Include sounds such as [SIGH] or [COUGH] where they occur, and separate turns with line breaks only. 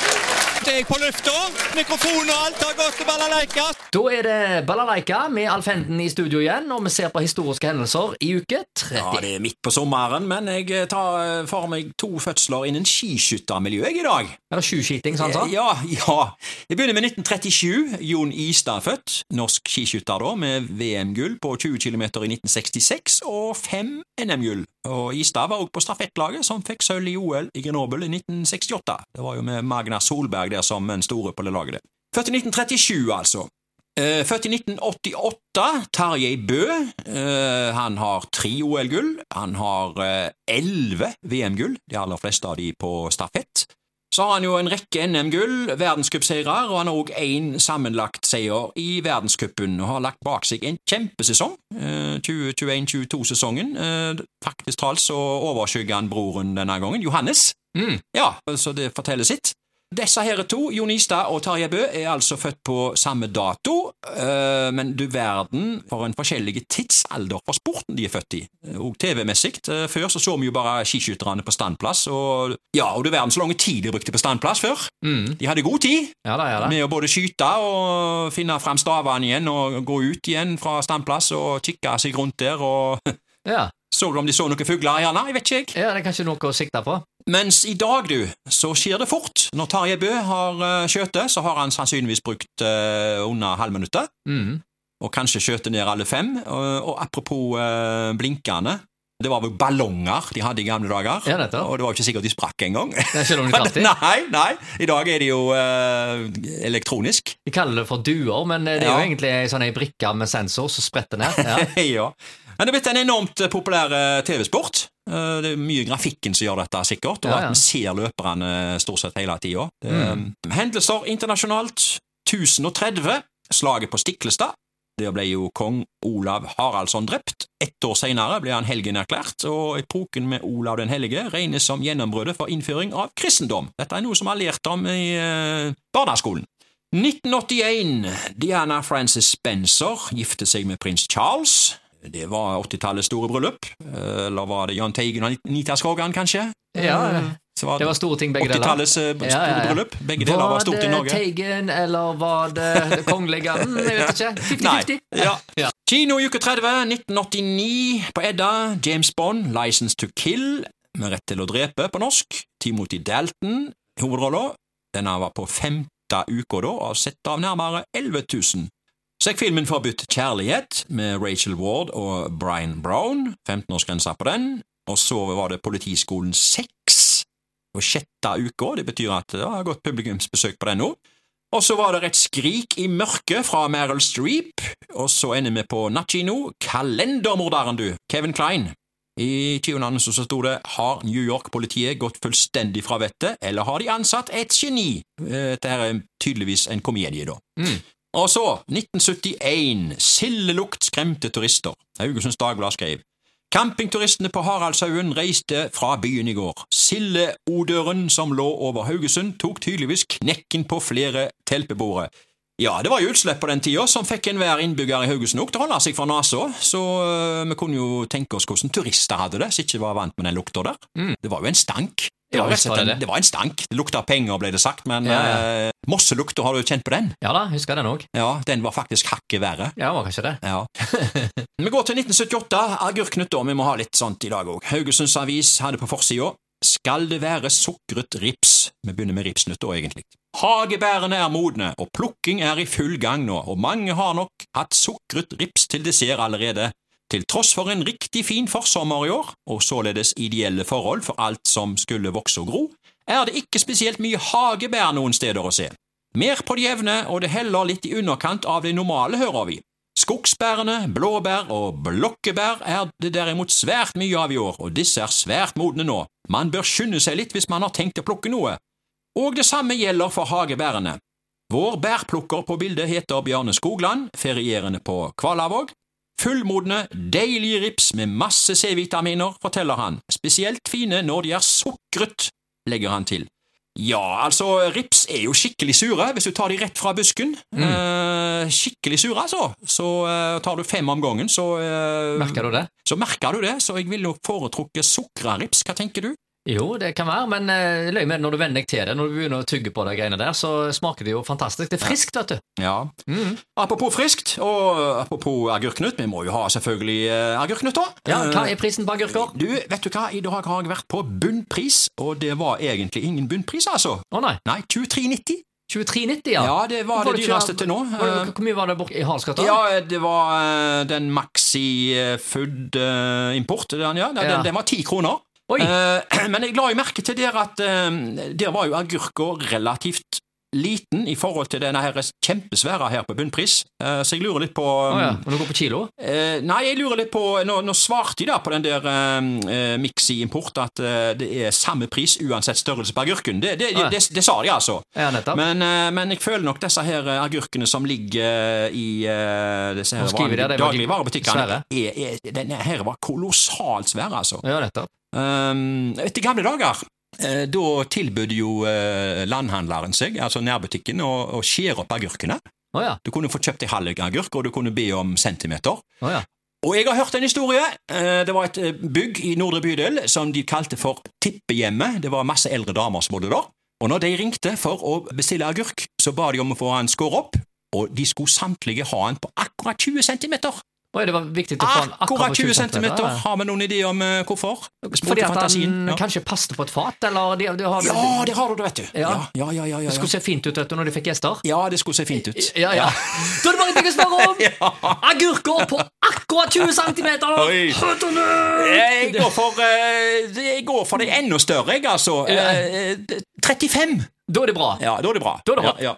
Snart er jeg på lufta. Mikrofon og alt har gått til balalaika.
Da er det Balalaika med Alf Henden i studio igjen, og vi ser på historiske hendelser i uke 30.
Ja, det er midt på sommeren, men jeg tar eh, for meg to fødsler innen skiskyttermiljøet i dag.
Eller tjuvskyting, sa han sa.
Ja, ja. Jeg begynner med 1937. Jon Istad er født. Norsk skiskytter da, med VM-gull på 20 km i 1966 og fem NM-gull. Og Istad var også på stafettlaget, som fikk sølv i OL i Grenoble i 1968. Det var jo med Magna Solberg der som den store på det laget. der. Født i 1937, altså. Eh, Født i 1988, Tarjei Bø. Eh, Han har tre OL-gull. Han har eh, elleve VM-gull, de aller fleste av de på stafett. Så har han jo en rekke NM-gull, verdenscupseirer, og han har òg én sammenlagt seier i verdenscupen, og har lagt bak seg en kjempesesong, eh, 2021-2022-sesongen. Eh, Faktisk talt så overskygger han broren denne gangen, Johannes.
Mm.
Ja, så det forteller sitt. Disse her to, Jon Istad og Tarjei Bø, er altså født på samme dato, eh, men du verden for en forskjellig tidsalder for sporten de er født i, Eh, og TV-messig. eh, Før så så vi jo bare skiskytterne på standplass, og ja, og du verden så lang tid de brukte på standplass før.
Mm.
De hadde god tid
Ja da, ja da.
med å både skyte og finne fram stavene igjen, og gå ut igjen fra standplass og kikke seg rundt der, og [LAUGHS]
Ja,
så du om de så noen fugler, gjerne? Jeg vet ikke, jeg.
ja det er kanskje noe å sikte på.
Mens i dag, du, så skjer det fort. Når Tarjei Bø har uh, skjøtet, så har han sannsynligvis brukt eh, under halvminuttet,
Mm.
og kanskje skjøtet ned alle fem. Og, og apropos eh, blinkene, det var vel ballonger de hadde i gamle dager,
Ja, nettopp.
og det var jo ikke sikkert de sprakk engang.
Det er ikke
[LAUGHS]
noe de traff i.
nei, nei, i dag er det jo eh, elektronisk. [LAUGHS]
De kaller det for duer, men det er
Ja.
jo egentlig ei sånn ei brikke med sensor som spretter ned. Ja.
ja. Men det er blitt en enormt eh, populær eh, TV-sport. Eh, Det er mye grafikken som gjør dette, sikkert, og
Ja, ja.
at vi ser løperne eh, stort sett hele tida. Hendelser internasjonalt. 1030. Slaget på Stiklestad. Der ble jo kong Olav Haraldsson drept. Ett år senere ble han helgen erklært, og epoken med Olav den hellige regnes som gjennombruddet for innføring av kristendom. Dette er noe som vi har lært om i eh, barneskolen. 1981. Diana Frances Spencer gifte seg med prins Charles. Det var 80-tallets store bryllup. Eh, Eller var det Jahn Teigen og Anita Skogran, kanskje?
Ja,
[LAUGHS] Så var
det
det
var store ting, begge deler.
80-tallets eh, store
Ja, ja, ja.
bryllup. Begge deler var stort i
det
Norge.
Teigen, eller var det kongelige? Mm, jeg vet ikke.
Nei.
50-50.
Ja.
[LAUGHS] Ja.
Kino i uke 30, 1989, på Edda. James Bond, 'License to Kill', med rett til å drepe på norsk. Timothy Dalton, hovedrolla. Denne var på femte uka da, og sett av nærmere 11 000. Så gikk filmen Forbudt kjærlighet, med Rachel Ward og Brian Brown. 15-årsgrensa på den. Og så var det Politiskolen 6, på sjette uka. Det betyr at det har gått publikumsbesøk på den nå. Og så var det et skrik i mørket fra Meryl Streep, og så ender vi på nattkino. Kalendermorderen, du! Kevin Klein. I tyvenannonsen så sto det Har New York-politiet gått fullstendig fra vettet, eller har de ansatt et geni? Eh, Dette her er tydeligvis en komedie, da.
Mm.
Og så, 1971, sildelukt skremte turister. Haugesunds Dagblad skrev Campingturistene på Haraldshaugen reiste fra byen i går. Sildeodøren som lå over Haugesund tok tydeligvis knekken på flere teltbeboere. Ja, det var jo utslipp på den tida som fikk enhver innbygger i Haugesund nok til å holde seg fra nesa, så øh, vi kunne jo tenke oss hvordan turister hadde det, som ikke var vant med den lukta der.
Mm.
Det var jo en stank.
Ja,
var rett og slett
visst var det
en,
det.
det var en stank. Det lukta penger, ble det sagt, men
Ja,
øh, mosselukta, har du kjent på den?
Ja da, husker den òg.
Ja, den var faktisk hakket verre.
Ja, var kanskje det.
Ja. [LAUGHS] vi går til 1978. Agurknøtt, da. Vi må ha litt sånt i dag òg. Haugesunds Avis hadde på forsida Skal det være sukret rips? Vi begynner med ripsnøtt da, egentlig. Hagebærene er modne, og plukking er i full gang nå, og mange har nok hatt sukret rips til dessert allerede. Til tross for en riktig fin forsommer i år, og således ideelle forhold for alt som skulle vokse og gro, er det ikke spesielt mye hagebær noen steder å se. Mer på det jevne, og det heller litt i underkant av det normale, hører vi. Skogsbærene, blåbær og blokkebær er det derimot svært mye av i år, og disse er svært modne nå. Man bør skynde seg litt hvis man har tenkt å plukke noe. Og det samme gjelder for hagebærene. Vår bærplukker på bildet heter Bjarne Skogland, ferierende på Kvalavåg. Fullmodne, deilige rips med masse C-vitaminer, forteller han, spesielt fine når de er sukret, legger han til. Ja, altså, rips er jo skikkelig sure hvis du tar de rett fra busken.
Mm.
Eh, skikkelig sure, altså. Så eh, tar du fem om gangen, så, eh,
Merker du det?
så merker du det. Så jeg ville jo foretrukket sukra rips. Hva tenker du?
Jo, det kan være, men eh, løy med det når du venner deg til det. Når du begynner å tygge på de greiene der, så smaker det jo fantastisk. Det er friskt, vet du.
Ja.
Mm.
Apropos friskt, og apropos agurknut, vi må jo ha selvfølgelig eh, agurknut, da.
Ja, hva er prisen på agurker?
Du, vet du hva, i dag har jeg vært på bunnpris, og det var egentlig ingen bunnpris, altså.
Å nei,
Nei, 23,90.
23,90 ja.
Ja. det var
Hvorfor
det
ikke-
dyreste til nå.
Var det, hvor mye var det borte i Haraldsgata?
Ja, det var eh, den Maxi eh, Food eh, Import, den, ja. Den,
Ja.
den, den var ti kroner.
Oi.
Eh, [CLEARS THROAT] men jeg la jo merke til der at eh, der var jo agurker relativt liten i forhold til denne her kjempesvære her på bunnpris, Eh, så jeg lurer litt på um,
Å
mm.
ja, Når du går på kilo?
eh, Nei, jeg lurer litt på Nå, nå svarte de da på den der eh, Mixi Import at eh, det er samme pris uansett størrelse på agurken. Det, det,
Å ja.
det, det, det sa de, altså.
Ah. Ja, nettopp.
Men, eh, men jeg føler nok disse her eh, agurkene som ligger i eh, disse her
Nå skriver
vanlige
jeg det, det var de
dagligvarebutikkene,
svære.
er, er, denne her var kolossalt svær, altså.
ja, nettopp.
Um, etter gamle dager eh, da tilbød jo eh, landhandleren seg, altså nærbutikken, å, å skjære opp agurkene.
Å ja.
Du kunne få kjøpt ei halv agurk, og du kunne be om centimeter.
Å ja.
Og jeg har hørt en historie. Eh, Det var et eh, bygg i Nordre bydel som de kalte for Tippehjemmet. Det var masse eldre damer som bodde der. Og når de ringte for å bestille agurk, så ba de om å få han skåret opp. Og de skulle samtlige ha han på akkurat 20 cm.
Oi, det var viktig å få den
Akkurat 20 cm!
sånn centimeter, ja.
Har vi noen idé om eh, hvorfor? Språk
Fordi
til
at
fantasien.
han
Ja.
kanskje passet på et fat, eller de, de har,
ja, det har du, det, vet du. Ja,
Ja.
ja, ja. ja,
Det
ja,
skulle
ja.
se fint ut vet du, når de fikk gjester.
ja det skulle se fint ut.
Ja, ja. Da er det bare en ting å spørre om! Agurker på akkurat 20 cm!
Oi. Jeg går for, eh, jeg går for det enda større, jeg, altså. Eh, eh, 35!
Da er det bra.
Ja, da er det bra.
Da er det bra.
Ja, ja.